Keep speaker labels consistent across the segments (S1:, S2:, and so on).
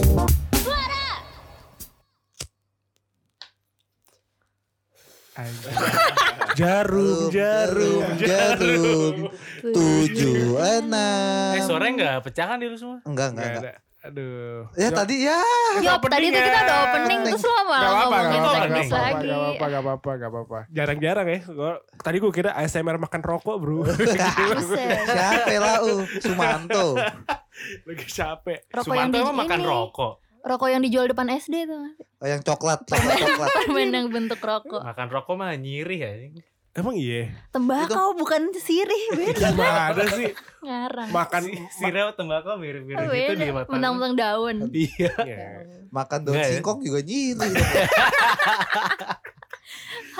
S1: Anjing. jarum, jarum, jarum. Tujuh, enam.
S2: Eh suaranya nggak pecah kan di lu semua?
S1: Enggak, enggak,
S3: Nggak ada.
S1: enggak.
S3: Aduh.
S1: Ya tadi ya.
S3: Nggak
S4: Yop, Iya, tadi tuh kita udah opening terus
S3: Gak
S4: lo malah
S3: apa-apa,
S4: ngomongin
S3: gak apa-apa,
S2: teknis
S3: gak
S4: teknis
S3: apa-apa,
S4: lagi.
S3: gak apa-apa, gak apa-apa, gak apa-apa. Jarang-jarang ya, gua, tadi gue kira ASMR makan rokok bro.
S4: Buset.
S1: Siapa lah uh, Sumanto.
S3: Lagi capek.
S4: Rokok yang
S2: Sumanto
S4: di
S2: emang makan
S4: ini.
S2: rokok.
S4: Rokok yang dijual depan SD tuh.
S3: Iya.
S1: Oh, yang coklat, coklat,
S3: ya.
S1: coklat.
S4: Permen yang bentuk rokok.
S2: Makan rokok mah nyirih ya.
S3: Emang iya?
S4: Tembakau bukan sirih, beda
S3: Gimana ada sih
S4: ngarang.
S3: makan
S2: Sirah tembakau mirip-mirip
S4: Oh,
S2: gitu di mata.
S4: Beda, mentang-mentang daun.
S2: Iya.
S3: Iya.
S1: Makan daun
S2: Enggak ya?
S1: singkong juga nyiri.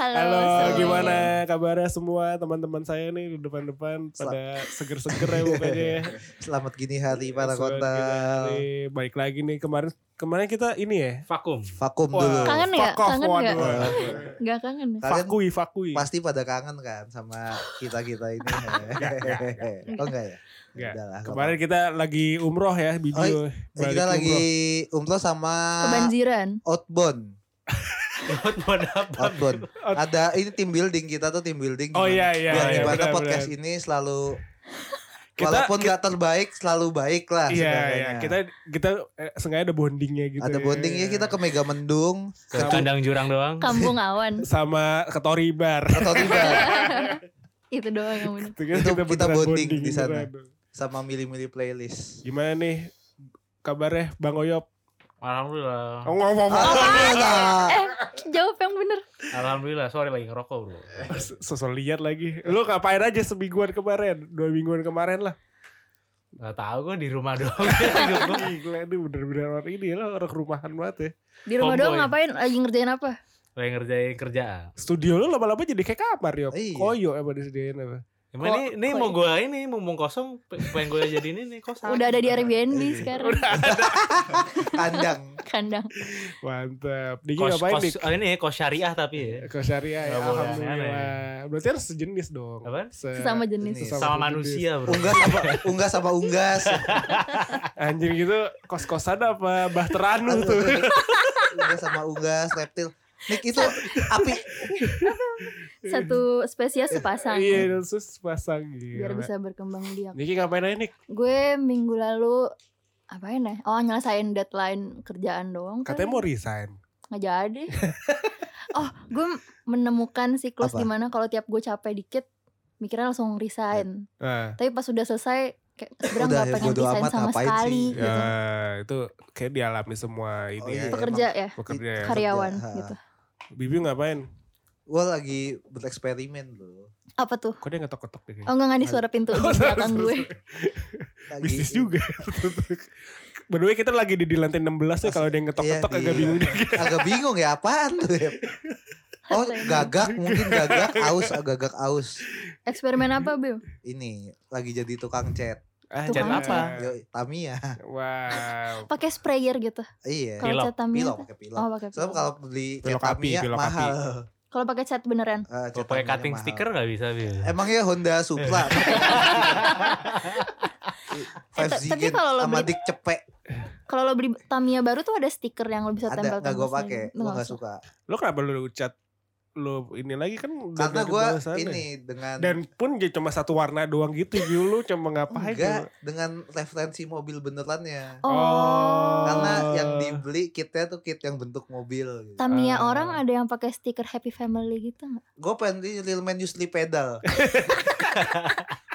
S4: Halo,
S3: Halo,
S4: Soy.
S3: gimana kabarnya semua teman-teman saya nih di depan-depan pada seger-seger ya mukanya ya.
S1: Selamat gini hari para
S3: Sobat
S1: kota.
S3: kita nih, Balik lagi nih kemarin kemarin kita ini ya.
S2: Vakum.
S1: Vakum
S3: Wah,
S1: dulu.
S4: Kangen nggak?
S3: fuck off,
S4: Kangen
S3: waduh. Ah.
S1: nggak?
S4: Gak kangen ya?
S1: Kalian
S3: Fakui, fakui.
S1: pasti pada kangen kan sama kita-kita ini. oh enggak ya?
S3: Enggak.
S1: Udah lah,
S3: Kemarin kita lagi umroh ya, video.
S1: Eh, kita lagi umroh sama
S4: Kebanjiran.
S1: outbound.
S2: Buat buat apa?
S1: Outbound. Ada ini tim building kita tuh tim building.
S3: Oh iya iya.
S1: Biar
S3: iya,
S1: gimana
S3: benar,
S1: podcast
S3: benar.
S1: ini selalu
S3: Kita-
S1: walaupun nggak terbaik selalu baik lah.
S3: Iya
S1: seenggaknya.
S3: iya. Kita kita eh, sengaja ada bondingnya gitu.
S1: ada bondingnya kita ke Megamendung
S2: Ke kandang jurang doang.
S4: Kampung awan.
S3: sama ke Toribar.
S1: atau tidak
S4: Itu doang yang bener.
S3: Gitu kan,
S1: Itu kita
S3: beneran
S1: bonding di sana.
S3: beneran.
S1: sama milih-milih playlist.
S3: gitu kan. Gimana nih kabarnya Bang Oyop?
S2: Alhamdulillah.
S3: Oh, ngomong
S1: Ah, lah.
S4: Eh, jawab yang bener.
S2: Alhamdulillah. Sorry lagi ngerokok bro.
S3: Sosok lihat lagi. Lu ngapain aja semingguan kemarin? Dua mingguan kemarin lah.
S2: Gak tau gue di rumah doang. Hidup gua.
S3: Ih, Gila ini bener-bener orang ini lo orang rumahan banget ya.
S4: Di rumah
S2: Tomboy.
S4: doang ngapain? Lagi ngerjain apa?
S2: Lagi ngerjain kerjaan.
S3: Studio lu lama-lama jadi kayak kamar yo.
S1: Iya.
S3: Koyo emang disediain apa.
S2: Emang
S4: Kok-
S2: ini, ini
S4: kok-
S2: mau gue ini mumpung kosong pe- pengen gue jadiin ini kosan.
S4: Udah ada di Airbnb
S3: Iya.
S4: sekarang.
S1: Kandang.
S4: Kandang.
S3: Mantap. Diki
S2: Kos,
S3: ngapain
S2: kos,
S3: Dik?
S2: oh, ini kos syariah tapi ya.
S3: Ke syariah ya,
S2: Nggak boleh
S3: alhamdulillah. Berarti harus sejenis dong.
S2: Apaan?
S3: Se-
S1: Iya.
S4: Sesama jenis.
S1: Jenis.
S2: Sama
S3: jenis.
S2: manusia bro.
S1: Unggas sama unggas sama unggas.
S3: Anjir gitu kos-kosan apa bahteran lu tuh.
S1: unggas sama unggas reptil. Nick itu api
S4: Satu spesies sepasang.
S3: Iya, terus pasang gitu.
S4: Biar bisa berkembang biak.
S3: Niki ngapain aja Nik?
S4: Gue minggu lalu apain ya? Oh nyelesain deadline kerjaan doang. kali.
S3: Katanya mau resign.
S4: nggak jadi. oh, gue menemukan siklus
S1: Apa?
S4: dimana kalau tiap gue capek dikit, mikirnya langsung resign.
S3: Nah,
S4: Tapi pas sudah selesai, kayak sebenarnya
S1: Iya. Udah,
S4: nggak
S1: ya
S4: pengen
S1: bodo
S4: resign
S1: amat,
S4: sama
S1: ngapain
S4: sekali.
S1: sih?
S4: Gitu.
S3: ya itu kayak dialami semua ini
S1: Iya Oh, iya.
S3: ya.
S4: Pekerja ya,
S3: Pekerja ya.
S4: karyawan
S1: Pekerja, ha.
S4: gitu.
S3: Bibi ngapain?
S1: gue lagi bereksperimen loh.
S4: Apa tuh?
S3: Kok dia ngetok-ketok deh
S4: Oh enggak enggak di suara pintu di belakang gue.
S1: Lagi-
S3: Bisnis juga. By the way kita lagi di, di lantai 16 ya kalau ada yang ngetok-ketok
S1: Iya,
S3: agak
S1: iya.
S3: bingung deh.
S1: Agak bingung ya apaan tuh ya. Oh
S4: Apa ini?
S1: gagak mungkin gagak aus gagak aus
S4: Eksperimen apa, Bim?
S1: ini lagi jadi tukang cat.
S3: Ah,
S4: Tukang
S3: jangan.
S2: apa?
S1: Yo Tamiya.
S3: Wow.
S4: Pakai sprayer gitu.
S1: Iya.
S4: Kalau
S2: Pilok.
S4: cat Tamiya
S1: Pilok
S4: tuh-
S1: pakai
S4: Oh,
S1: pilok.
S4: pakai.
S1: Soalnya
S4: pilok.
S1: kalau beli cat
S3: Pilok api,
S1: Tamiya
S3: pilok api.
S1: mahal.
S4: Kalau pakai cat
S1: Eh,
S4: beneran.
S1: cat
S2: Kalau pakai
S1: Tamiya
S2: cutting
S1: mahal.
S2: stiker gak bisa Bil.
S1: Emangnya Honda Supra.
S4: Eh,
S1: Iya. Five
S4: ta-
S1: Zigen
S4: tapi kalau lo
S1: sama
S4: beli-
S1: dik cepek
S4: Kalau lo beli Tamiya baru tuh ada stiker yang lo bisa
S1: ada
S4: tempel
S1: nggak gue pakai
S4: Lu
S1: gue
S4: nggak
S1: nggak
S4: usah.
S1: suka
S3: Lo kenapa lu ucat lu ini lagi kan udah
S1: karena
S3: ada
S1: gue
S3: balasannya.
S1: ini dengan
S3: dan pun ya cuma satu warna doang gitu Bil. lu cuma ngapain coba?
S1: enggak dengan referensi mobil benerannya
S4: Oh.
S1: karena yang dibeli kitnya tuh kit yang bentuk mobil gitu.
S4: Tamiya
S3: Ah.
S4: orang ada yang pakai stiker happy family gitu nggak?
S1: gue pengen di real man usually pedal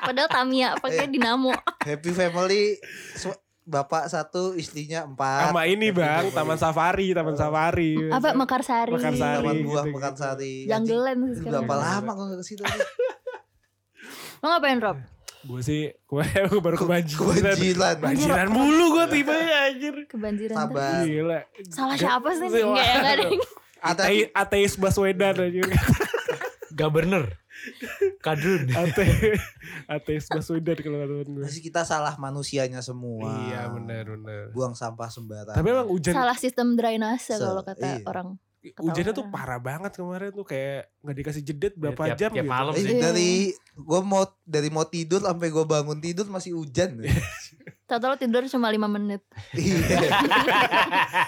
S4: Padahal
S1: Iya.
S4: Tamiya pakai dinamo.
S3: Iya,
S1: happy family su- bapak satu istrinya empat
S3: sama ini bang taman safari taman safari
S4: Apa
S3: iya.
S4: Mekarsari.
S3: Mekarsari.
S1: taman
S3: gitu,
S1: buah
S3: gitu.
S1: Mekarsari Anjing,
S4: Jungleland sih
S1: itu
S4: sekarang.
S1: berapa lama gue nggak kesitu nih?
S4: Lo ngapain Rob?
S3: gue sih gue gue baru kebanjiran
S1: kebanjiran
S3: kebanjiran mulu gue tiba anjir
S4: Kebanjiran. tuh.
S1: sabar
S3: gila
S4: Salah siapa sih?
S3: Gak-
S4: Enggak ya, enggak ada. yang-
S3: Atei- ateis Baswedan anjir
S2: Governor. Kadrun.
S3: Ate, ateis Baswedan kalau kata temen gue
S1: Pasti kita salah manusianya semua
S3: iya benar benar
S1: buang sampah sembarangan
S3: tapi emang hujan
S4: Salah sistem drainase
S1: Salah,
S4: kalau kata
S1: iya.
S4: orang.
S3: Hujannya tuh
S4: Ketahuan.
S3: parah banget kemarin tuh kayak nggak dikasih jedet berapa
S2: Iya, Tiap-
S3: jam
S2: tiap
S3: gitu.
S2: malam
S1: Eh,
S2: sih.
S1: dari gue mau dari mau tidur sampai gue bangun tidur masih hujan.
S4: Tahu lo tidur cuma 5 menit.
S1: Iya.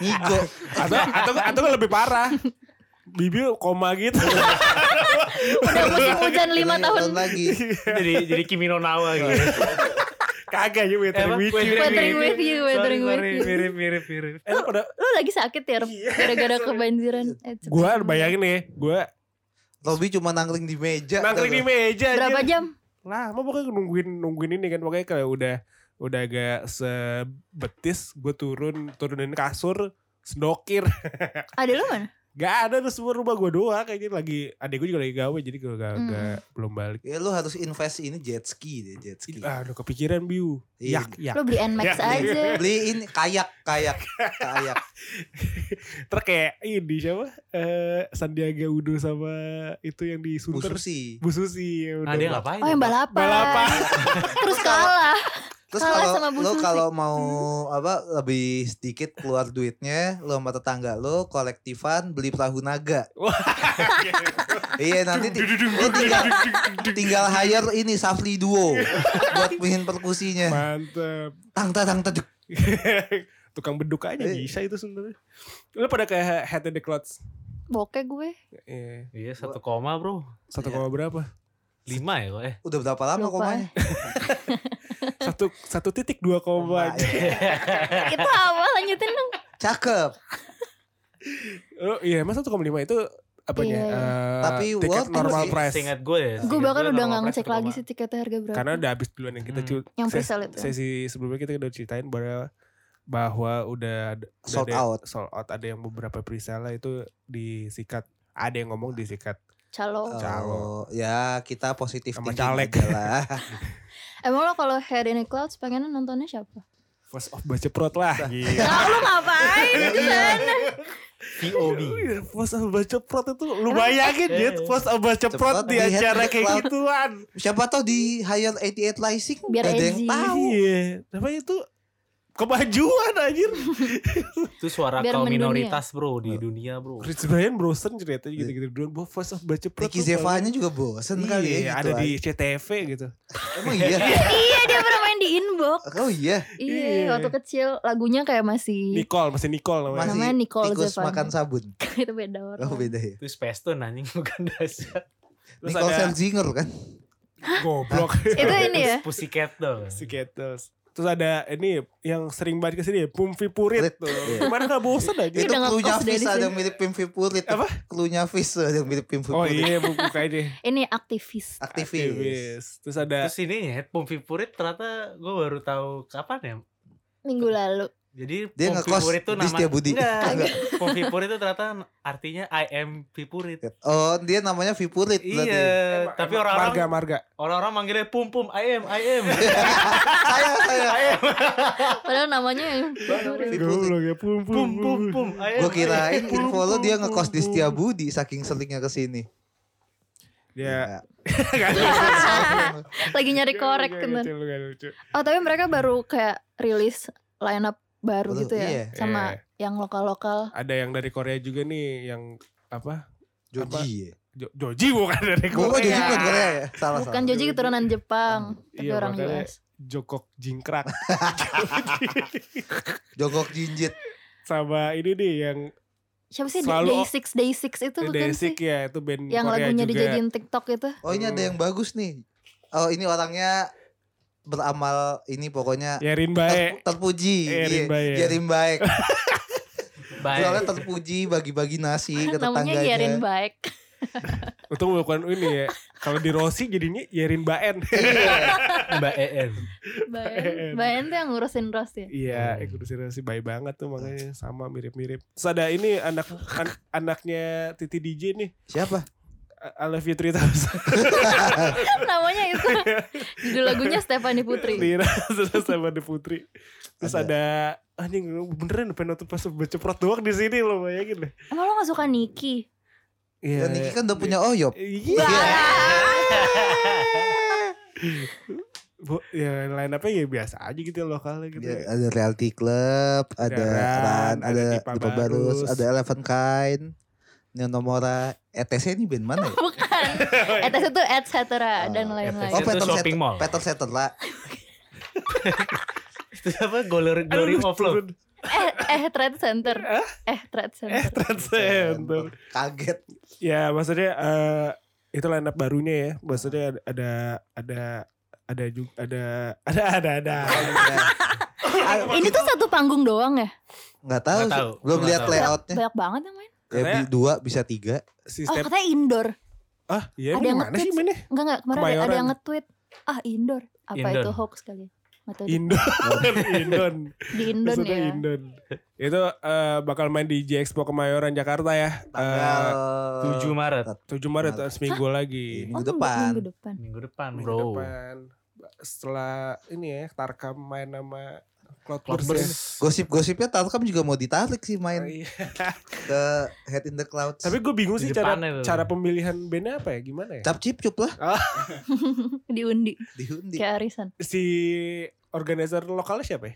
S1: Ngigo.
S3: Atau atau atau lebih parah. Bibi koma gitu.
S4: Udah musim hujan 5 tahun.
S1: lagi.
S2: jadi jadi Kimi no Nawa gitu.
S3: Kagak ya
S2: Eh,
S3: weather
S2: apa?
S3: witch.
S2: Weathering
S4: Weathering with you, weathering
S2: Sorry,
S4: with
S2: sorry,
S4: you.
S2: mirip mirip mirip.
S3: Eh, lu udah-
S4: Lo lagi sakit ya, Rob?
S3: Iya,
S4: gara-gara kebanjiran. Eh, cepet
S3: gua
S4: banget.
S3: bayangin nih, gua
S1: Robi cuma nangkring di meja.
S3: nangkring di meja aja.
S4: Berapa jam?
S3: lama pokoknya nungguin nungguin ini kan pokoknya kayak udah udah agak sebetis gue turun turunin kasur sendokir
S4: Ada lo mana?
S3: gak ada tuh semua rumah gue doang kayaknya lagi adik gue juga lagi gawe jadi gue gak,
S4: Hmm.
S3: gak- belum balik
S1: Ya lu harus invest ini jet ski deh, jet
S3: Ih,
S1: ski.
S3: aduh kepikiran biu
S1: Iya.
S3: yak yak
S4: Hmm. Lo beli Nmax
S3: Ya,
S4: aja.
S1: Beli ini kayak kayak kayak.
S3: terus kayak ini siapa eh, Sandiaga Udo sama itu yang di Sunter
S1: Bususi.
S3: Bu Susi ya,
S2: Nah,
S3: udah.
S2: dia ngapain?
S4: Oh yang balapan.
S3: Balapan.
S4: Terus kalah.
S1: Terus
S4: Kalah
S1: kalau
S4: sama Bu
S1: lo
S4: Susi.
S1: kalau mau apa lebih sedikit keluar duitnya, lo sama tetangga lo kolektifan beli perahu naga. Iya nanti ti- lo tinggal tinggal hire ini Safli Duo buat main perkusinya.
S3: mantep
S1: Tang tang tang tang.
S3: tukang beduk aja
S1: Eh.
S3: bisa itu sebenarnya lu pada kayak head and the clouds
S4: Bokeh gue.
S3: Iya.
S2: Iya satu koma bro.
S3: Satu
S1: Iya.
S3: koma berapa?
S2: Lima ya kok eh.
S1: Udah berapa lama
S4: Lupa.
S1: komanya?
S3: Satu satu titik dua koma.
S1: Koma, iya.
S4: Itu apa lanjutin dong.
S1: Cakep.
S3: Oh iya, masa satu koma lima itu apanya?
S4: Iya.
S3: Eh,
S1: Tapi
S3: tiket
S1: worth it
S3: normal
S1: sih.
S3: price.
S2: Seingat gue ya.
S1: Iya,
S4: Gue bahkan udah gak
S1: gitu
S4: ngecek lagi sih tiketnya harga berapa.
S3: Karena udah habis duluan yang kita
S2: Hmm.
S3: cu-
S4: Yang
S3: ses-
S4: pre-sale itu.
S3: sesi sebelumnya kita udah ceritain bahwa bahwa udah udah
S1: Sold
S3: ada-
S1: out.
S3: sold out ada yang beberapa pre-sale itu disikat ada yang ngomong disikat
S4: Calo.
S1: Oh, ya kita positif
S3: Sama
S1: thinking
S3: caleg.
S1: aja lah.
S4: Emang lo kalau Head in the Clouds pengen nontonnya siapa?
S3: first of baca prot lah Gila.
S4: Lah lo ngapain kan. di sana?
S2: VOB.
S3: Iya, First of baca prot itu lu bayangin
S2: Iya,
S3: ya
S2: iya.
S3: first of baca prot di
S1: Ceprot di
S3: acara
S1: Head and
S3: kayak
S1: Cloud.
S3: gituan
S1: Siapa tahu di hire 88 Rising
S4: Biar
S1: gak ada yang
S4: edgy.
S1: tahu.
S3: Iya, apa itu kemajuan anjir.
S2: Itu suara
S4: Biar ya.
S2: kaum
S4: mendunia.
S2: minoritas bro di dunia bro.
S3: Chris Brian Brosen ceritanya gitu-gitu duluan. Bahwa Voice of Baca Prot
S1: Iya. Ricky
S3: tuh
S1: Zevanya
S3: paling-
S1: juga bosen
S3: Iya,
S1: kali ya gitu.
S3: ada di
S1: aja.
S3: CTV gitu.
S1: Emang iya.
S4: Iya dia pernah main di Inbox.
S1: Oh iya.
S3: Iya.
S4: Iya waktu kecil lagunya kayak masih
S3: Nicole, masih Nicole namanya.
S1: Masih
S4: namanya Nicole
S1: tikus
S4: Zevanya.
S1: makan sabun.
S4: itu beda orang.
S1: Oh beda ya.
S2: Itu space tuh anjing bukan dasar.
S3: Terus
S1: Nicole
S3: ada
S1: Scherzinger kan.
S3: goblok.
S4: Itu ini ya.
S2: Pussycat dong.
S3: si Gettles. Terus ada ini yang sering banget kesini ya, Pumfi Purit
S1: Purit,
S3: tuh.
S1: iya.
S3: Kemana gak bosen aja.
S1: Itu
S4: udah ngekos
S1: klunya Fis
S4: dari
S1: ada
S4: sini.
S1: yang mirip Pimpi Purit.
S3: Apa?
S1: Klunya Fis ada yang mirip Pimpi
S3: Oh
S1: Purit.
S3: iya, buku kayaknya.
S4: Ini aktivis.
S1: Aktivis.
S3: Terus ada
S2: Terus ini ya, Pompi Purit ternyata gue baru tahu kapan ya.
S4: Minggu lalu.
S2: Jadi
S4: Oh,
S1: Dia
S2: Pompi
S1: ngekos
S2: Purit tuh
S1: di
S2: nama
S1: Setiabudi.
S2: Enggak.
S1: Enggak.
S2: Pompi Purit tuh ternyata artinya I am Pipurit.
S1: Oh dia namanya Vipurit berarti. ya?
S2: Iya, tapi
S3: Marga,
S2: orang-orang
S3: Marga.
S2: orang-orang manggilnya Pum Pum, I am, I am.
S1: saya saya.
S4: Padahal namanya yang
S3: Goblok ya, Pum Pum
S2: Pum Pum Pum, I am. Iya.
S1: Gue kirain
S2: I am.
S1: info lo dia ngekos di Setiabudi saking seringnya kesini. Ya.
S3: Dia
S4: lagi nyari korek
S3: Gak
S4: teman.
S3: lucu, gak lucu.
S4: Oh tapi mereka baru kayak rilis line up baru
S1: Baru,
S4: gitu ya
S1: iya.
S4: sama yang lokal-lokal.
S3: Ada yang dari Korea juga nih yang apa?
S1: Joji ya.
S3: Jo- Joji bukan dari
S1: Gue
S3: Korea.
S1: Joji bukan Korea ya. Salah
S4: Bukan
S1: salah.
S4: Joji keturunan Jepang, tapi
S3: Iya,
S4: orang
S3: makanya.
S4: US.
S3: Jokok Jingkrak
S1: Jogok Jinjit.
S3: sama ini nih yang
S4: Siapa sih
S3: Selalu-
S4: Day Six Day Six itu bukan sih?
S3: Desik ya itu band
S4: Yang
S3: Korea
S4: lagunya
S3: juga.
S4: dijadiin TikTok itu.
S1: Oh ini ada yang bagus nih. Oh ini orangnya beramal ini pokoknya
S3: Ya
S1: ter-
S3: Rinbae.
S1: terpuji.
S3: Iya, Rin Bae.
S1: Jarin baik. Soalnya
S2: Baik.
S1: terpuji bagi-bagi nasi ke
S4: Namanya
S1: tetangganya.
S4: Yarin Baik.
S3: Untung bukan ini ya. Kalau di Rossi jadinya Yerin Baen.
S1: Iya.
S2: Mbak EN.
S4: Baen. Baen tuh yang ngurusin Ros ya.
S3: Iya,
S2: Hmm.
S3: ikut Rossi baik banget tuh makanya sama mirip-mirip. Terus ada ini anak an- anaknya Titi DJ nih.
S1: Siapa?
S3: I I love you 3000. Iya.
S4: Namanya itu. Judul lagunya Stephanie Putri.
S3: Lira terus sama The Putri. Terus ada, anjing beneran pengen nonton pas berceprot doang di sini lo bayangin deh.
S4: Emang lo gak suka Niki?
S3: Iya.
S1: Dan Niki kan udah punya Oyop.
S3: Iya. Bu, ya line up-nya ya biasa aja gitu lokalnya gitu.
S1: Dia- ada Reality Club, ada
S3: Ada Ran,
S1: Ran,
S3: ada
S1: ada
S3: Dipa
S1: Dipa Barus,
S3: Barus.
S1: ada Eleven Kind, Neonomora ETC ini band mana ya?
S4: Bukan.
S3: Iya.
S4: Etes itu et
S3: Ah,
S4: cetera dan
S1: Oh,
S4: lain-lain.
S2: Itu
S1: Peter
S2: shopping
S1: Setter-
S2: mall.
S1: Peter Setter lah.
S2: Itu apa? Glory, glory
S3: Aduh,
S2: of love.
S3: turun.
S4: Eh, eh Trade Center. Eh
S3: Eh,
S4: Trade Center.
S1: Iya,
S3: transgender.
S1: Kaget.
S3: Ya maksudnya eh itu line up barunya ya.
S1: Ah.
S3: Maksudnya ada ada ada ada juga ada ada ada ada.
S1: Oh,
S4: Ini tuh satu panggung doang ya?
S1: Nggak tahu,
S2: Nggak
S1: sih.
S2: tahu.
S1: belum
S2: Nggak
S1: lihat
S2: tahu.
S3: Eh.
S1: layoutnya.
S4: Banyak banget yang main.
S1: Ya,
S3: Katanya-
S1: bi- dua bisa tiga.
S4: Oh
S3: Sistem
S4: katanya indoor.
S3: ah ya
S4: ada
S3: ini
S4: yang
S3: mana sih
S4: nge-tweet.
S3: mainnya?
S4: Enggak enggak kemarin ada, ada
S3: Kemayoran.
S4: yang nge-tweet. Ah indoor. Apa
S2: Indoor.
S4: itu hoax kali? ya? Nggak tahu deh.
S3: Indon,
S1: Oh.
S3: Indon,
S4: di Indon
S3: maksudnya
S4: ya.
S3: Indon. Itu eh, bakal main di J Expo Kemayoran Jakarta ya.
S1: Tanggal
S2: 7 Maret.
S3: 7 Maret eh, seminggu lagi.
S1: Ini minggu depan.
S4: Oh, Minggu depan.
S2: Minggu depan
S3: Minggu
S2: bro.
S3: depan. Setelah ini ya Tarkam main sama
S2: Cloudburst.
S3: Cloudburst.
S1: Gosip-gosipnya Tarkam juga mau ditarik
S3: ya.
S1: sih main
S3: Iya.
S1: ke Head in the Clouds.
S3: Tapi gue bingung
S2: Di
S3: sih cara
S1: ya,
S2: depannya tuh.
S3: cara pemilihan bandnya apa ya gimana ya?
S1: cap cip cup lah
S4: Diundi
S1: dihundi.
S4: kayak arisan.
S3: Si organizer lokalnya siapa ya?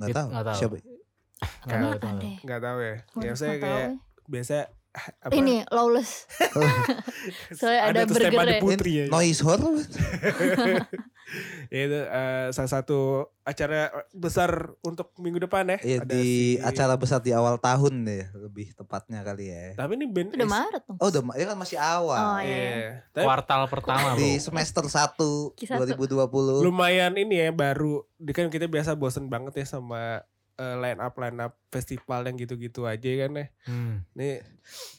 S1: Nggak tahu.
S2: Nggak tahu.
S1: Siapa? ya?
S2: Nggak tahu,
S4: Apaan
S2: tahu.
S4: deh?
S3: Nggak tahu ya.
S4: Waduh,
S3: ya saya
S4: nggak tahu
S3: kayak
S4: ya.
S3: biasa ah, apa, ya?
S4: Ini lawless. soalnya ada
S3: tuh Stepan
S4: burgernya.
S3: di Putri ya.
S1: Noise horror.
S3: Ya, itu eh, salah satu acara besar untuk minggu depan ya.
S1: Ya,
S3: Ada
S1: di
S3: si-
S1: acara besar di awal tahun deh lebih tepatnya kali ya.
S3: Tapi ini band eh,
S4: Itu udah Maret dong.
S1: Oh, udah ma- ya kan masih awal.
S4: Oh, iya.
S3: Iya. Tapi
S2: Kuartal pertama bro.
S1: Di semester 1
S4: Ki satu.
S1: 2020.
S3: lumayan ini ya baru di kan kita biasa bosen banget ya sama eh, line up line up festival yang gitu-gitu aja kan ya.
S2: Hmm.
S3: Ini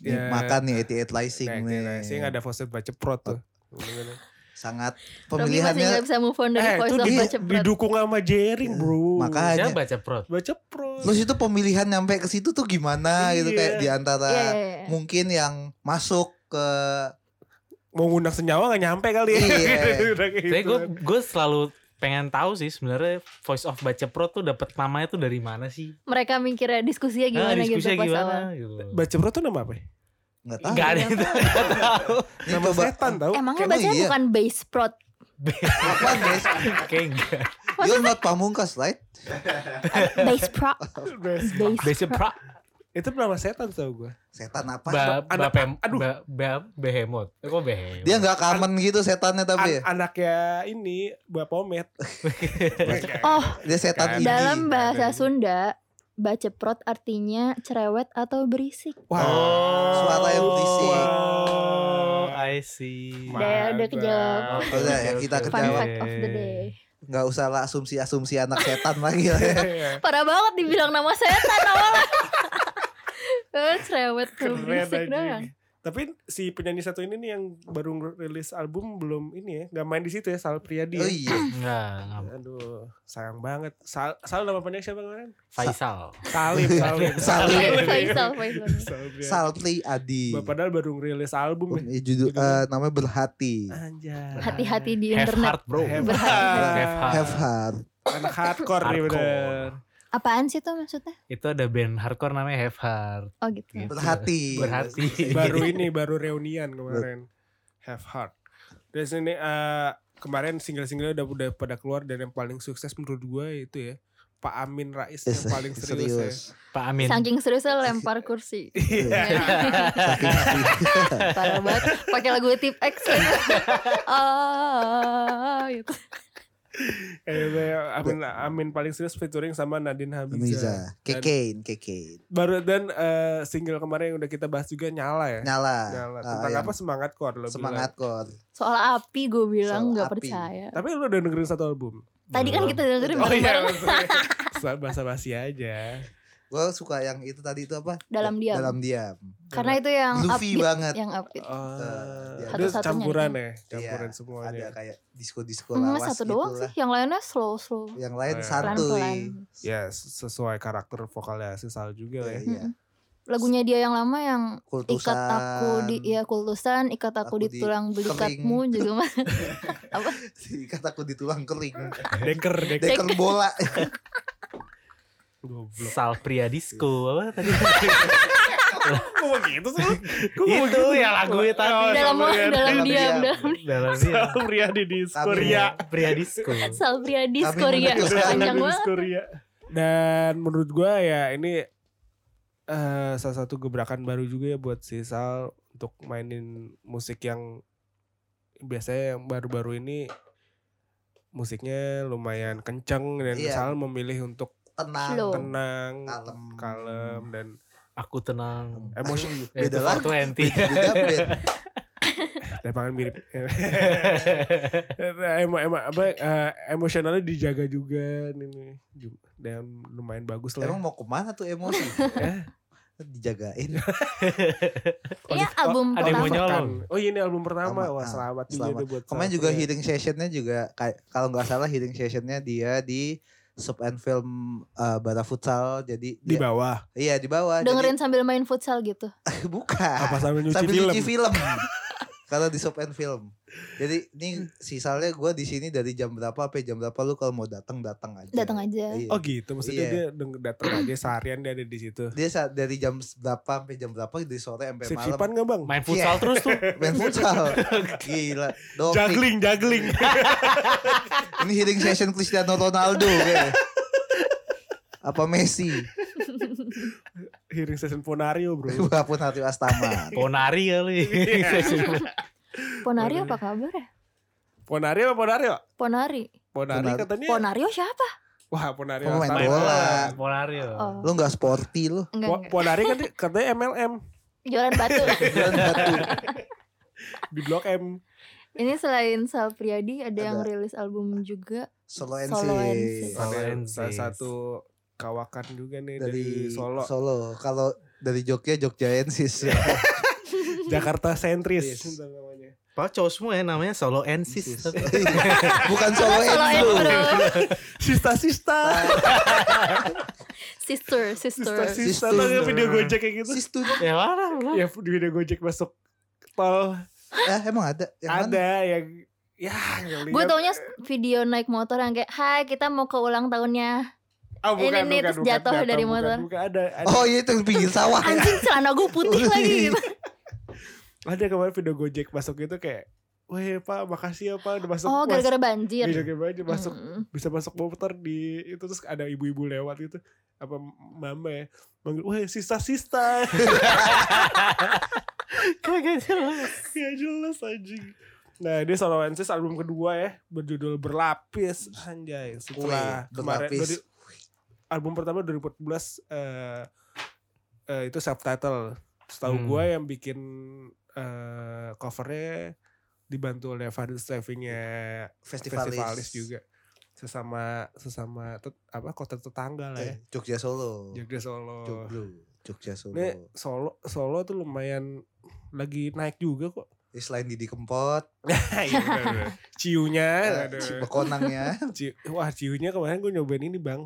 S1: Nih,
S3: ya.
S1: makan nih 88 Rising
S3: Nah,
S1: nih.
S3: Sing ada Fawcett baca prot tuh. Ini-
S1: Sangat
S4: Rogi masih
S1: pemilihannya
S4: gak bisa move on dari
S3: Eh,
S4: voice
S3: itu
S4: of
S3: di-
S4: Baca Prat.
S3: didukung sama Jering, bro.
S1: Iya, Makanya.
S2: Siapa baca prot?
S3: Baca pro.
S1: terus itu pemilihan nyampe ke situ tuh gimana gitu
S3: Iya.
S1: kayak di antara
S4: Iya, iya, iya.
S1: mungkin yang masuk ke
S3: Mau ngundang senyawa gak nyampe kali ya.
S1: Iya.
S3: Udah kayak
S2: Tapi
S3: gitu
S2: gue
S3: kan.
S2: gue selalu pengen tahu sih sebenarnya voice of baca prot tuh dapat namanya tuh dari mana sih?
S4: Mereka mikirnya diskusinya
S2: Ah,
S4: gimana gitu
S2: diskusinya
S4: pas
S2: gimana
S4: awal.
S2: gitu.
S3: Baca pro tuh nama apa? ya?
S1: nggak tahu.
S2: Gak ada yang tahu. Nggak tahu.
S1: Ini
S3: Nama
S1: coba
S3: setan tau.
S4: Emangnya
S1: Emang
S4: bacanya
S1: iya?
S4: bukan base prot.
S1: apa guys?
S2: Kayak enggak.
S1: You're not pamungkas, right?
S4: Base prot. Base,
S2: Baca prot.
S3: Itu nama setan tau gue.
S1: Setan apa?
S2: Ba ba
S3: anak-
S2: pem
S3: aduh.
S2: ba ba behemot. Eh, Kok behemot?
S1: Dia nggak common gitu setannya tapi ya.
S3: anaknya ini Bapak Omet.
S4: Oh,
S1: Dia
S3: Kan.
S1: setan ini.
S4: dalam bahasa
S3: Ada ini.
S4: Sunda, baca prot artinya cerewet atau berisik.
S2: Oh.
S1: Suara yang berisik.
S2: Oh, I see.
S4: Ma- Udah, udah kejawab.
S2: Oke,
S1: Udah ya,
S2: oke,
S1: kita
S2: oke,
S1: Fun
S4: Fun
S1: Kejawab.
S4: fact of the day.
S1: Nggak usah lah asumsi-asumsi anak setan lagi lah ya.
S3: Iya.
S4: Parah banget dibilang nama setan awalnya. Eh, cerewet tuh
S3: Keren
S4: berisik doang.
S3: aja. Tapi si penyanyi satu ini nih yang baru rilis album belum ini ya, nggak main di situ ya Sal Priadi.
S1: Oh
S3: Ya.
S1: iya.
S2: Enggak, enggak.
S3: Aduh, sayang banget. Sal, Sal nama pendek siapa kemarin?
S2: Faisal.
S3: Salim, Salim.
S1: Salim.
S4: Faisal, Faisal.
S3: Sal Priadi.
S1: Salty Adi.
S3: Bah, Padahal baru rilis album ya.
S1: Um, judul eh, namanya berhati.
S3: Anjay.
S4: Hati-hati di
S2: Have
S4: internet.
S2: heart, bro.
S3: Have
S4: Berhati.
S3: heart.
S2: Have heart.
S1: Have heart.
S2: Iya.
S3: Anak hardcore nih bener.
S2: Hardcore.
S4: Apaan sih tuh maksudnya?
S2: Itu ada band hardcore namanya Have Heart.
S4: Oh
S3: Iya.
S4: gitu.
S1: Berhati.
S2: Berhati.
S1: iya,
S3: baru ini baru reunian kemarin Have Heart terus ini eh, kemarin single-single udah udah pada keluar dan yang paling sukses menurut gue itu ya Pak Amin Rais yang paling serius, ya.
S2: Pak Amin.
S4: Saking seriusnya lempar kursi.
S3: Iya.
S4: Iya.
S1: Saking serius.
S4: Parah banget. Pakai lagu tip X.
S3: Iya.
S4: gitu. Ah, gitu.
S3: Eh, eh, Amin, Amin paling serius featuring sama Nadine Hamiza
S1: Miza. Kekein, kekein.
S3: baru dan eh, single kemarin yang udah kita bahas juga nyala ya
S1: Nyala.
S3: nyala
S1: Ah,
S3: tentang
S1: yang
S3: apa semangat kor lo
S1: Semangat kor.
S4: Soal api gue
S1: Soal
S4: bilang nggak
S1: api.
S4: percaya.
S3: bilang. tapi lo udah dengerin satu album
S4: Tadi kan
S2: Belum.
S4: kita dengerin
S3: oh iya
S4: bareng-bareng
S3: bahasa basi aja
S1: Gue suka yang itu tadi itu apa?
S4: dalam diam.
S1: Dalam diam.
S4: Karena itu yang
S1: Luffy
S4: upbeat,
S1: banget.
S4: yang upbeat.
S3: Oh,
S1: ya.
S3: itu
S4: Iya. Satu-satunya
S3: campuran ya, campuran
S1: Iya,
S3: semuanya.
S1: Ada kayak disco-disco
S4: Cuma
S1: lawas
S4: satu
S1: gitu
S4: doang
S1: lah.
S4: sih, yang lainnya slow slow.
S1: Yang lain
S3: Iya.
S1: santuy.
S4: Pelan-pelan.
S3: Ya, sesuai karakter vokalnya si Sal juga ya.
S1: Iya.
S4: Lagunya dia yang lama yang
S1: Kultusan.
S4: ikat aku di ya kultusan, ikat aku,
S1: Aku
S4: di
S1: di
S4: tulang belikatmu juga mah. Apa?
S1: Ikat aku di tulang kering.
S3: Deker, deker.
S1: Deker bola.
S3: Goblok.
S2: Sal Pria Disco. Apa tadi?
S3: Kok begitu sih?
S2: itu ya lagunya tadi.
S4: dalam dalam
S1: Dalam
S4: diam,
S1: diam.
S4: dalam
S2: Dalam
S3: Sal
S2: dia.
S3: Pria di
S1: Kami-
S3: Diskoria.
S2: Pria Disco.
S4: Salpriadis
S1: Kami
S4: Korea
S1: menuju ke sana.
S4: panjang banget.
S3: Dan menurut gua ya ini eh, salah satu gebrakan baru juga ya buat si Sal untuk mainin musik yang biasanya yang baru-baru ini musiknya lumayan kenceng dan
S1: Iya.
S3: Sal memilih untuk
S1: tenang
S4: Slow.
S3: tenang,
S1: Kalem.
S3: kalem dan
S2: Aku tenang.
S3: emosi Eh,
S1: Beda lah.
S2: Twenty.
S3: Iya.
S1: beda beda
S3: lapangan mirip. emang emang apa eh, emosionalnya dijaga juga nih, nih. Ju- dan lumayan bagus lah.
S1: emang mau kemana tuh emosi
S3: Eh.
S1: dijagain
S4: Iya album
S2: ada yang mau
S4: pertama.
S2: nyolong.
S3: Oh iya ini album pertama.
S1: Pertama,
S3: Wah
S1: ah,
S3: selamat, juga
S1: selamat.
S3: itu buat
S1: kemarin
S3: Sal.
S1: juga
S3: Iya.
S1: hearing sessionnya juga kayak kalau nggak salah hearing sessionnya dia di sub and film eh, bara futsal jadi
S3: di
S1: dia-
S3: bawah.
S1: iya di bawah jadi-
S4: Dengerin sambil main futsal gitu.
S1: bukan
S3: Apa sambil nyuci
S1: Ah, sambil
S3: film?
S1: nyuci film kalau di shop and film jadi ini sisalnya gue di sini dari jam berapa sampai jam berapa lu kalau mau datang datang aja
S4: Datang aja.
S1: Iya.
S3: Oh gitu, maksudnya
S1: Iya.
S3: dia deng- datang aja seharian dia ada di situ.
S1: dia sa- dari jam berapa sampai jam berapa dari sore sampai malam
S3: Sip-sipan nggak bang?
S2: Main
S1: Iya.
S2: futsal terus tuh.
S1: main futsal gila dong
S3: Juggling, juggling.
S1: ini hearing session Cristiano Ronaldo kayaknya. apa Messi
S3: Hearing session Ponario bro.
S1: walaupun hati Astama
S2: Iya. Ponari kali. Iya.
S4: Ponari
S3: Waduh.
S4: apa kabar ya?
S3: Ponario apa Ponario?
S4: Ponari.
S3: Ponari
S1: Ponar-
S3: katanya.
S4: Ponario siapa?
S3: Wah Ponario.
S1: Pemain
S3: Astana.
S2: Main
S1: bola.
S2: Ponari. ya.
S4: Oh,
S1: lu nggak sporty lu
S4: enggak,
S3: Po-
S4: enggak.
S3: Ponari kan katanya MLM
S4: Jualan batu.
S1: Jalan batu.
S3: di Blok M.
S4: Ini selain Sal Priadi ada, yang
S1: Ada.
S4: rilis album juga.
S1: solo and
S4: Solo and
S1: Sis.
S4: Sis.
S2: Solo
S3: Ada
S2: and
S3: salah
S2: Sis.
S3: satu kawakan juga nih dari,
S1: dari
S3: Solo.
S1: Solo kalau dari Jogja Jogja Ensis
S3: Jakarta sentris.
S1: Yes.
S3: Ntar namanya.
S2: Padahal cowok semua ya namanya solo ensis. Iya.
S1: Bukan solo
S4: Solo and
S1: Enzo.
S4: Bro.
S3: Sista-sista.
S4: Sister, sister.
S3: Sista-sista.
S1: Sister.
S3: Tau nggak video Gojek kayak gitu?
S1: Sis tuh.
S2: ya marah lah.
S3: Ya video Gojek masuk tol.
S1: Ah, emang ada yang mana?
S3: ada yang ya yang
S4: Gue
S3: lihat.
S4: taunya s- video naik motor yang kayak Hai kita mau ke ulang tahunnya
S3: Ah,
S4: ini nih, terus jatuh dari
S3: bukan,
S4: motor.
S3: bukan. ada ada,
S1: Oh iya itu pinggir sawah ya.
S4: Anjing celana gue putih lagi gitu
S3: ada kemarin video Gojek masuk itu kayak Weh pak makasih ya pak udah masuk
S4: Oh
S3: mas-
S4: gara-gara banjir
S3: Bisa kayak banjir, Iya, masuk
S4: Mm.
S3: bisa masuk motor di itu terus ada ibu-ibu lewat gitu apa mama ya manggil weh sista sista
S2: Kagak jelas.
S3: ya jelas anjing nah dia Solowensis album kedua ya berjudul berlapis anjay setelah
S1: Weh,
S3: kemarin
S1: Berlapis.
S3: dari- album pertama 2014 eh eh, itu subtitle setahu
S2: Hmm.
S3: gua yang bikin eh covernya dibantu oleh Fadil Strivingnya
S1: Festivalis.
S3: festivalis juga sesama sesama tet- apa kota tetangga lah ya
S1: Eh, Jogja Solo.
S3: Jogja Solo
S1: Joglo. Jogja Solo.
S3: ini Solo Solo tuh lumayan lagi naik juga kok
S1: Eh, Selain Didi Kempot,
S3: Iya, bener, bener. ciunya
S1: eh,
S3: aduh.
S1: si Bekonangnya,
S3: Ciu- wah ciunya kemarin gue nyobain ini bang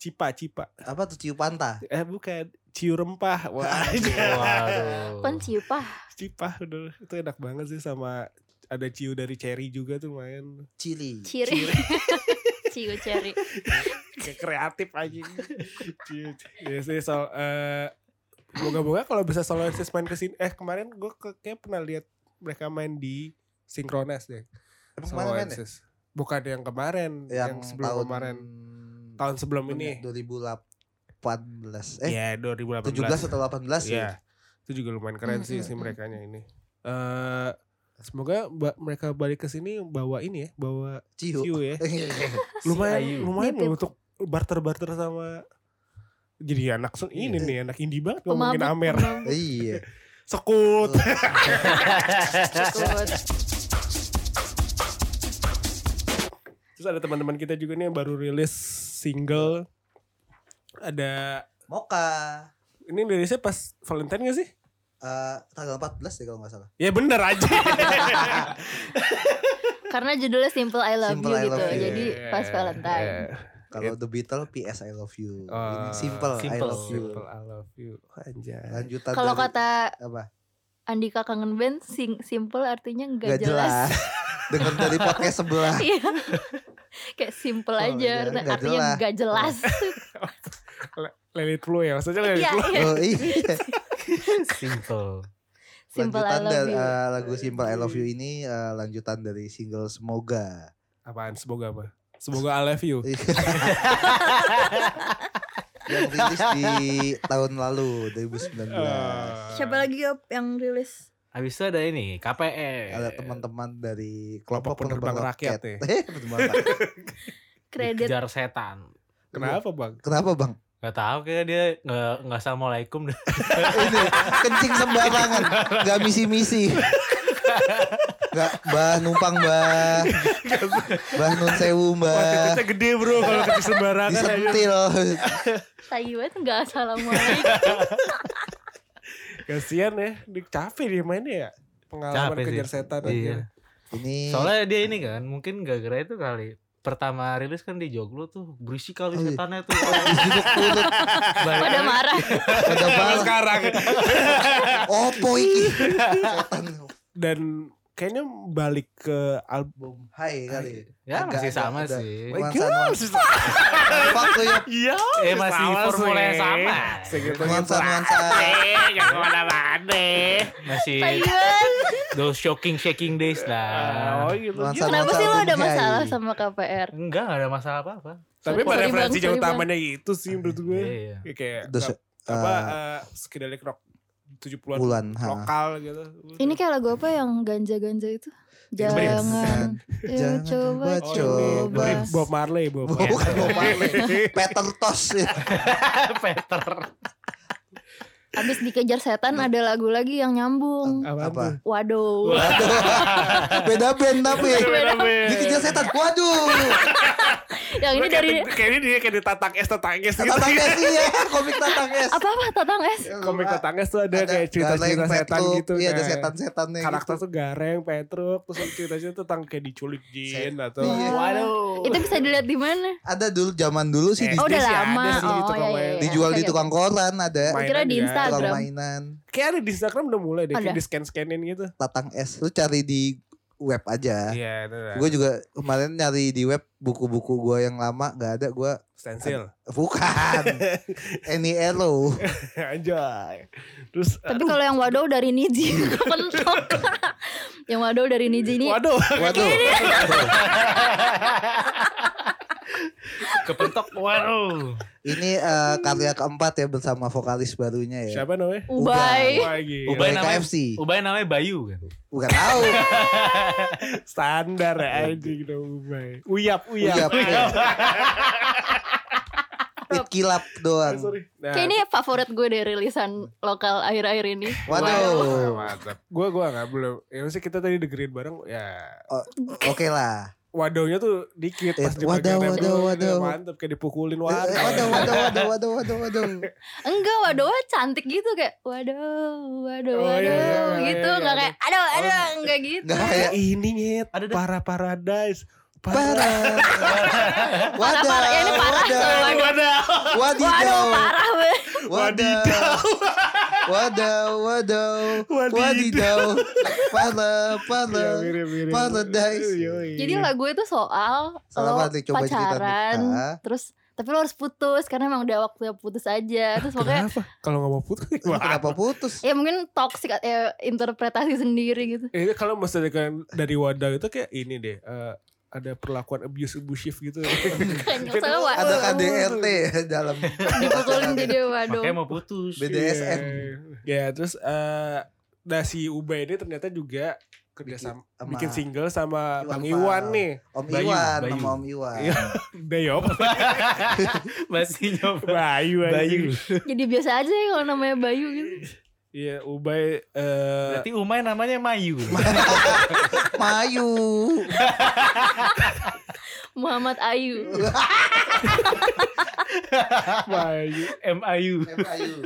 S3: cipa cipa
S1: apa tuh Ciu Panta?
S3: eh bukan ciu rempah wah
S2: Waduh.
S4: Penciupah
S3: cipa udah itu enak banget sih sama ada ciu dari cherry juga tuh main
S1: Cili.
S4: Ciri Ciu ceri
S3: kayak kreatif aja ciu ya sih so eh, moga-moga kalau bisa solo Artist main kesini eh kemarin gue ke, kayak pernah lihat mereka main di sinkrones deh
S1: Emang
S3: Solo
S1: kemarin kan ya?
S3: Artist. bukan yang kemarin yang,
S1: Yang,
S3: sebelum
S1: tahun,
S3: kemarin tahun sebelum ini
S1: 2018. Eh,
S3: ya 2018
S1: 17 atau 18
S3: Iya.
S1: ya?
S3: Itu juga lumayan keren sih
S4: Mm,
S3: si
S4: mm, mm.
S3: mereka ini. Eh semoga ba- mereka balik ke sini bawa ini ya, bawa
S1: Ciu.
S3: view ya.
S2: Si
S3: Lumayan
S2: Ayu.
S3: lumayan
S4: Nitip.
S3: loh untuk barter-barter sama jadi anak sen- ini nih
S1: Iya.
S3: anak indie banget ngomongin
S4: Pemabuk
S3: Amer.
S4: pemabuk.
S1: Iya.
S3: Sekut.
S4: Ikut.
S3: Terus ada teman-teman kita juga nih yang baru rilis single ada
S1: Moka.
S3: ini rilisnya pas Valentine gak sih?
S1: Eh, tanggal 14 deh kalau nggak salah.
S3: Ya bener aja.
S4: Karena judulnya Simple I Love
S1: Simple
S4: You
S1: I
S4: gitu
S1: Love You.
S4: Jadi pas Valentine
S3: Yeah.
S1: Kalau The Beatles PS I love you.
S3: Ah,
S1: Ini simple, I
S2: simple.
S1: love you.
S3: Simple, I love you. Anjay.
S1: Lanjutan
S4: Kalau
S1: dari-
S4: kata
S1: apa?
S4: Andika Kangen Band sing- Simple artinya
S1: Gak,
S4: nggak
S1: jelas.
S4: jelas
S1: Dengar dari podcast sebelah.
S4: Iya Kayak
S1: Oh,
S4: simple
S1: iya,
S4: aja
S1: nggak
S4: Artinya
S1: jelas.
S4: nggak jelas
S3: Let it flow ya, maksudnya let it
S4: Iya
S3: flow.
S4: iya
S1: Oh iya.
S2: Simple.
S4: Simple I
S1: lanjutan
S4: Love
S1: dari
S4: You
S1: eh, lagu Simple I Love You ini eh, lanjutan dari single Semoga.
S3: Apaan? Semoga apa? Semoga I love you.
S1: yang rilis di tahun lalu 2019.
S3: Oh,
S5: Siapa lagi Yop, yang rilis?
S2: Habis itu ada ini E. KPR.
S1: Ada teman-teman dari kelompok
S3: Kelompok penerbang
S1: penerbang
S3: rakyat
S1: rakyat.
S3: ya.
S1: Eh, penerbang rakyat.
S5: Kredit
S2: Dikejar setan.
S3: Kenapa bang?
S1: Kenapa bang?
S2: Gak tahu kayak dia nggak nggak assalamualaikum dah.
S1: Ini kencing sembarangan, nggak misi-misi. Nggak, bah numpang bah, bah nun sewu bah,
S3: Kita gede bro
S2: Iya.
S3: kalau ketik sembarangan aja.
S1: disentil.
S4: Tai banget enggak assalamualaikum.
S3: Kasian ya, di- capek dia mainnya ya. Pengalaman
S2: Capek sih.
S3: kejar setan aja.
S2: Iya.
S1: Ini
S2: Soalnya dia ini kan mungkin gara-gara itu kali pertama rilis kan di Joglo tuh berisik kali
S1: Oh, iya.
S2: setannya tuh.
S1: diciduk mulut
S2: Banyak-
S4: Pada marah.
S1: ada
S3: Kalau
S1: bang.
S3: sekarang.
S1: Opo iki. Setan.
S3: Dan kayaknya balik ke album.
S1: Hai kali.
S2: Ya
S1: Agak-
S2: masih sama
S1: agak-
S2: sih.
S1: Wah,
S3: God,
S1: nuansa- Fuck lu ya.
S3: Iya.
S2: Eh masih
S3: sama
S2: formula yang
S3: sih.
S2: sama. Eh,
S3: Segitu
S1: Nuansa nuansa.
S3: Iya.
S2: Masih
S4: Tai banget.
S2: those shocking shaking days lah.
S3: gitu.
S1: Nuansa-
S4: Kenapa sih lo ada
S1: Santai.
S4: masalah sama KPR?
S2: Enggak, enggak ada masalah apa-apa.
S3: Tapi pada
S4: Sorry, Bang,
S3: referensi yang
S4: sorry, Bang.
S3: utamanya itu sih menurut gue.
S2: Iya.
S3: Ya, kayak
S1: Terus,
S3: nggak- apa eh, psychedelic rock 70-an
S1: Bulan.
S3: lokal gitu.
S4: Ini kayak lagu apa yang ganja-ganja itu? Jangan,
S1: Jangan
S4: yuk
S3: Oh,
S4: coba
S1: coba.
S4: coba.
S3: ini Bob Marley, Bob
S2: Iya.
S1: Bukan Bob Marley.
S3: Iya,
S1: Peter Tosh.
S2: Peter.
S4: Abis dikejar setan
S3: Nah.
S4: ada lagu lagi yang nyambung.
S1: Apa?
S3: Apa?
S4: Waduh.
S1: Beda band tapi.
S4: Beda.
S1: Dikejar setan. Waduh.
S4: yang Gitu, ini dari
S3: kayaknya dia kayak ditatak es tatang es gitu.
S1: Tatang S iya, komik Tatang S.
S4: apa apa Tatang S?
S3: Komik tatang es tuh ada kayak cerita-cerita
S1: Galeng,
S3: setan
S1: Petruk,
S3: gitu.
S1: Iya, ada
S3: kayak
S1: setan-setannya.
S3: Karakter
S1: gitu.
S3: tuh gareng, petruk, terus ceritanya tuh tentang kayak diculik jin atau
S1: Iya.
S2: Waduh.
S4: Itu bisa dilihat di mana?
S1: ada dulu zaman dulu sih
S3: Eh,
S1: di-
S4: Oh, udah
S3: sih ada
S4: lama.
S3: sih di
S4: Oh,
S3: tukang
S4: iya, iya,
S3: mainan.
S4: iya.
S1: dijual di
S4: Oke,
S1: tukang koran ada
S3: Main.
S4: Kira di
S3: juga.
S1: tukang
S4: Instagram.
S1: mainan
S3: Kayak ada di Instagram udah mulai deh, kayak
S4: Ada.
S3: di scan-scanin gitu.
S1: Tatang S. Lu cari di web aja.
S3: Iya, itu dah.
S1: Gue juga kemarin nyari di web buku-buku gue yang lama nggak ada gue
S3: Stensil.
S1: bukan Any Arrow
S3: Anjay. Terus eh,
S4: Tapi kalau yang Waduh dari Niji kepentok. yang Waduh dari Niji ini
S3: waduh,
S1: waduh
S2: Kepentok. Waduh.
S1: ini eh, karya keempat ya bersama vokalis barunya ya
S3: siapa namanya? gitu.
S4: Ubay.
S3: Wah, gila.
S2: Ubay
S1: Ubay
S2: namanya-
S1: KFC
S2: Ubay namanya Bayu kan.
S1: bukan tahu
S3: Iya, Standar ya anjing udah Ubay. Uyap,
S1: Iya,
S3: uyap.
S1: iya. Pit kilap doang.
S3: Ah, sorry. Nah,
S4: Kayak ini favorit gue deh rilisan lokal akhir-akhir ini. ya?
S1: Waduh.
S3: Gue gue nggak belum. Ya maksudnya kita tadi dengerin bareng ya.
S1: Oke lah.
S3: Wadahnya tuh dikit
S1: Eh,
S3: di
S1: wadah,
S3: bagian
S1: wadah,
S3: emang,
S1: wadah.
S3: ya, Mantep kayak dipukulin
S1: Eh,
S3: wadah.
S1: Waduh, waduh, waduh, waduh, waduh, waduh.
S4: Enggak, Waduh cantik gitu kayak Waduh, Waduh,
S3: Oh, iya,
S4: Waduh
S3: iya, iya,
S4: gitu.
S3: iya,
S4: Enggak
S3: iya.
S4: kayak aduh, aduh, enggak gitu.
S1: Enggak kayak
S3: Ini nyet
S2: Ada dah.
S3: para paradise.
S1: parah. Wadah.
S4: parah. Ya, ini parah, soalnya.
S1: Wadah. Wadidaw.
S4: Waduh, parah banget.
S1: Iya. Wadah. Wadah, wadah. Wadidaw.
S3: Ya,
S1: Parah, parah.
S3: mirip-mirip.
S1: Paradise.
S3: Yoi.
S4: Jadi lagu itu soal
S1: Salah
S4: lo
S1: banget nih, coba cerita nih.
S4: pacaran,
S1: Ah.
S4: terus tapi lo harus putus karena emang udah waktunya putus aja. Terus pokoknya
S3: Kenapa? Kalau nggak mau putus.
S1: Kenapa putus?
S4: ya mungkin toxic eh, interpretasi sendiri gitu.
S3: Eh, kalau misalkan dari wadah itu kayak ini deh. eh, ada perlakuan abuse abusive gitu.
S4: Kan soalnya wa-
S1: Ada KDRT dalam iya,
S4: dipukulin jadi waduh.
S2: Makanya mau putus.
S1: BDSM.
S3: Ya terus eh nah si Ubay ini ternyata juga kerjasama Iya,
S1: Sama
S3: bikin single sama
S1: Iwan
S3: Bang
S1: Fals.
S3: Iwan nih.
S1: Om
S2: Bayu,
S1: Iwan,
S2: Bayu.
S1: sama Om Iwan.
S3: Iya. Deyop.
S2: Masih nyoba.
S3: Bayu anjing.
S2: Bayu.
S4: Jadi biasa aja ya kalau namanya Bayu gitu.
S3: Iya Ubay eh
S2: Berarti Umay namanya Mayu.
S1: Mayu.
S4: Muhammad Ayu.
S3: Bayu.
S2: M A U.
S1: M. Ayu.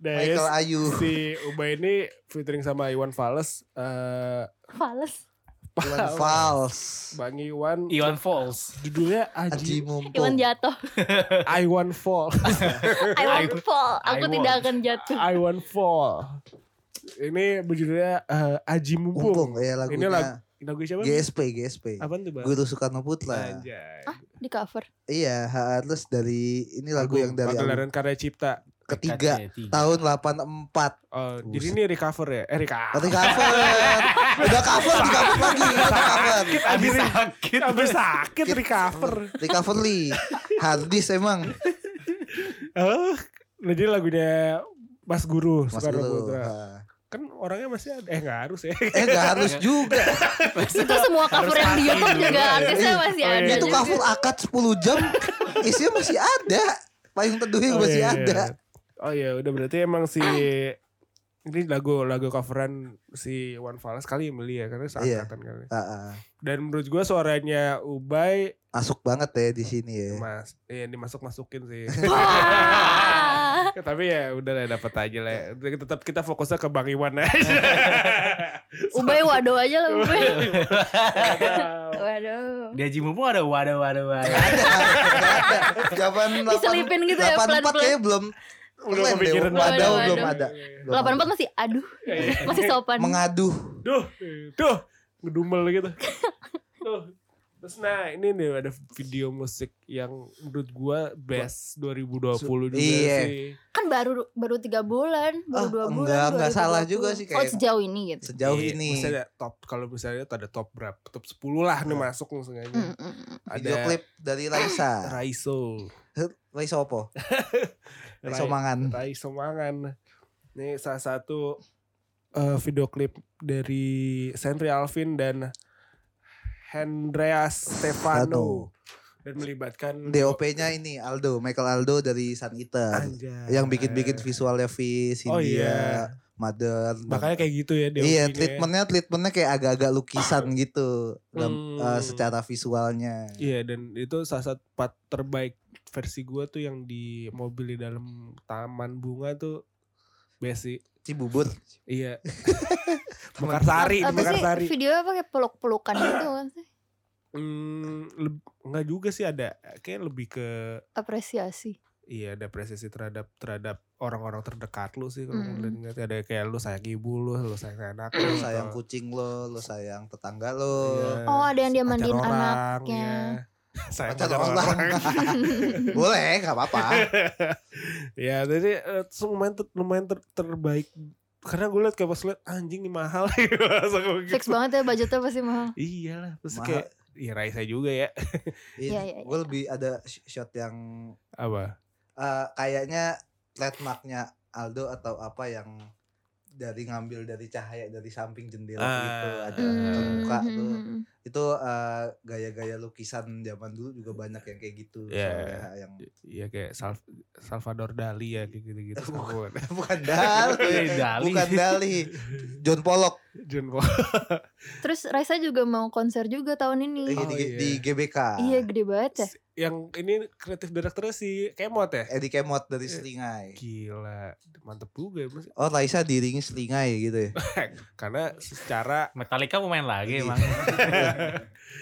S3: Nah, ya,
S1: Michael Ayu.
S3: si Ubay ini featuring sama Iwan Fales eh
S4: Fales.
S1: Iwan Fals.
S3: Bang Iwan
S2: Iwan Falls.
S3: judulnya
S1: Aji
S3: Aji
S1: Mumpung.
S4: Iwan jatuh.
S3: Iwan Fall.
S4: I won't fall.
S2: I
S4: Aku
S2: won't.
S4: tidak akan jatuh.
S3: Iwan Fall. Ini berjudulnya eh, Aji Mumpung.
S1: Mumpung ya
S3: Ini lagu,
S1: lagunya
S3: lagu siapa?
S1: GSP GSP
S3: Apaan tuh, Bang?
S1: Guru Soekarno Putra
S3: Anjay.
S4: Di cover.
S1: iya ha, terus dari ini lagu yang dari album
S3: Pagelaran Karya Cipta. ya.
S1: ketiga
S3: Oh,
S1: tahun 84 Buset. kan-
S3: jadi ini recover ya? Eh, recover.
S1: tapi cover udah cover di cover lagi udah cover
S2: Habis sakit.
S3: Abis sakit recover.
S1: recovery hardis emang
S3: Oh, nah, jadi lagunya Mas Guru
S1: Mas
S3: Soekarno
S1: Guru.
S3: Putra.
S1: Nah.
S3: Kan orangnya masih ada. Eh nggak harus ya.
S1: Eh gak harus juga.
S4: Itu semua cover yang di YouTube juga artisnya masih
S3: Oh, iya.
S4: ada.
S1: Itu
S4: juga.
S1: cover akad 10 jam isinya masih ada. Payung teduh yang
S3: Oh,
S1: masih
S3: iya,
S1: ada.
S3: iya. Oh ya udah berarti emang si ini lagu lagu coveran si One Fala sekali yang beli ya karena
S1: Iya.
S3: seangkatan kan.
S1: Ah, ah.
S3: Dan menurut gua suaranya Ubay
S1: Masuk banget ya di sini ya.
S3: Mas ya dimasuk masukin sih.
S4: Wah.
S3: Ya, tapi ya udah lah dapat aja lah.
S1: Iya.
S3: ya. Tetap kita fokusnya ke Bang Iwan aja.
S4: Ubay waduh aja lah Ubay.
S3: Wow.
S4: Waduh.
S2: Di Haji Mumpung ada wadah wadah
S1: Iya.
S2: wadah.
S1: Jawaban
S4: Diselipin gitu ya
S1: 84
S4: pelan-pelan.
S1: kayaknya belum
S3: Belum
S1: Keren deh,
S3: kepikiran.
S1: Padahal
S4: Waduh,
S1: belum
S4: waduh.
S1: ada. Belum ada.
S4: 84 masih aduh. Masih sopan.
S1: Mengaduh.
S3: Duh, duh, ngedumel gitu. Duh. Terus nah ini nih ada video musik yang menurut gua best 2020 juga
S1: Iya.
S3: sih.
S4: Kan baru baru 3 bulan, baru
S1: Ah,
S4: 2 bulan.
S1: enggak, enggak
S4: 2020.
S1: salah juga sih
S4: Oh,
S1: kayak-
S4: sejauh ini gitu.
S1: Sejauh
S3: Iya,
S1: ini.
S3: Misalnya top kalau misalnya tuh ada top berapa? Top 10 lah
S1: Nah.
S3: nih masuk langsung aja.
S4: Mm, mm, mm.
S1: Video
S3: Ada
S1: klip dari Raisa.
S3: Raiso.
S1: Raisa opo? Raisa
S3: Rai-
S1: mangan.
S3: Raiso Mangan. Ini salah satu eh, video klip dari Sandri Alvin dan Andreas Stefano dan melibatkan
S1: DOP-nya ini Aldo, Michael Aldo dari Sun Eater.
S3: Anjay.
S1: Yang bikin-bikin visualnya Viz, India,
S3: Oh iya.
S1: Mother.
S3: Makanya kayak gitu ya dia.
S1: iya,
S3: begini ya.
S1: treatmentnya treatmentnya kayak agak-agak lukisan gitu dalam
S3: Hmm.
S1: eh, secara visualnya.
S3: Iya dan itu salah satu part terbaik versi gua tuh yang di mobil di dalam taman bunga tuh besi.
S1: Cibubur.
S3: Iya. Mekarsari, di
S4: Apa sih
S3: Mekarsari.
S4: video pakai peluk-pelukan gitu kan sih?
S3: Hmm, leb- nggak juga sih ada kayak lebih ke
S4: Apresiasi.
S3: iya ada apresiasi terhadap terhadap orang-orang terdekat lu sih kalau
S4: Mm.
S3: ngeliat- ngeliat ada kayak lu sayang ibu lu, lu sayang anak lu,
S1: Lo
S3: atau-
S1: sayang kucing lo, lo sayang tetangga lo.
S3: Gitu. Iya,
S4: Oh, ada yang dia
S3: pacar
S4: mandiin
S3: orang,
S4: anaknya.
S3: iya. Sayang
S1: Pacar
S3: pacar
S1: orang.
S3: orang.
S1: Boleh, gak apa-apa.
S3: Ya, jadi eh, terus lumayan ter- lumayan ter- terbaik karena gue liat kayak pas liat anjing nih mahal Langsung gua gitu.
S4: Fix banget ya budgetnya pasti mahal.
S3: Iyalah, terus
S1: Mahal.
S3: kayak ya Raisa juga ya.
S4: Iya, iya,
S1: Gue lebih ada sh- shot yang
S3: Apa?
S1: eh, kayaknya trademarknya Aldo atau apa yang dari ngambil dari cahaya dari samping jendela
S3: Ah.
S1: gitu ada
S3: Hmm.
S1: terbuka tuh
S4: Hmm.
S1: itu eh, gaya-gaya lukisan zaman dulu juga banyak yang kayak gitu
S3: Iya.
S1: soalnya yang
S3: Ya kayak Sal- Salvador Dali ya kayak gitu-gitu. Bukan.
S1: bukan Dali
S3: Iya,
S2: Eh, Dali.
S1: bukan Dali John Pollock
S3: John Wall.
S4: Terus Raisa juga mau konser juga tahun
S1: eh,
S4: ini.
S1: di,
S3: iya.
S1: di GBK
S4: Iya gede banget ya.
S3: Yang ini kreatif direkturnya si Kemot ya?
S1: Eddie Kemot dari Seringai
S3: Gila, mantep juga ya Mas.
S1: oh Raisa diringi Seringai gitu ya
S3: Karena secara
S2: Metallica mau main lagi
S1: Iya.
S2: emang.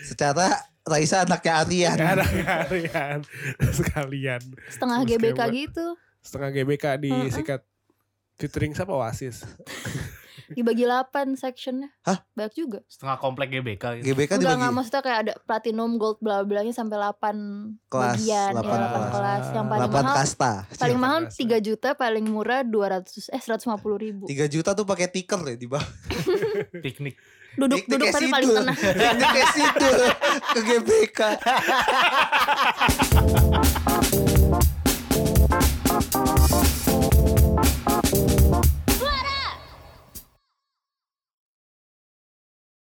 S1: secara Raisa anaknya Aryan
S3: ada kalian sekalian
S4: Setengah
S3: Terus
S4: GBK
S3: kayak-
S4: gitu.
S3: setengah GBK disikat featuring siapa Oasis
S4: Dibagi 8 sectionnya.
S1: Hah?
S4: Banyak juga.
S2: Setengah komplek GBK gitu.
S1: GBK
S4: Enggak, enggak
S1: Kan dibagi
S4: maksudnya kayak ada platinum, gold, bla bla nya sampai 8
S1: Kelas,
S4: bagian.
S1: delapan
S4: ya, delapan
S1: kelas.
S4: kelas. Yang paling
S1: 8
S4: mahal
S1: kasta
S4: paling mahal
S3: Kelas.
S4: 3 juta, paling murah 200 eh 150 ribu.
S1: 3 juta tuh pakai tiker ya di bawah
S2: Piknik.
S4: Duduk
S1: Piknik
S4: duduk
S1: kayak
S4: tapi paling
S1: sidul.
S4: tengah.
S1: Piknik kayak situ ke GBK.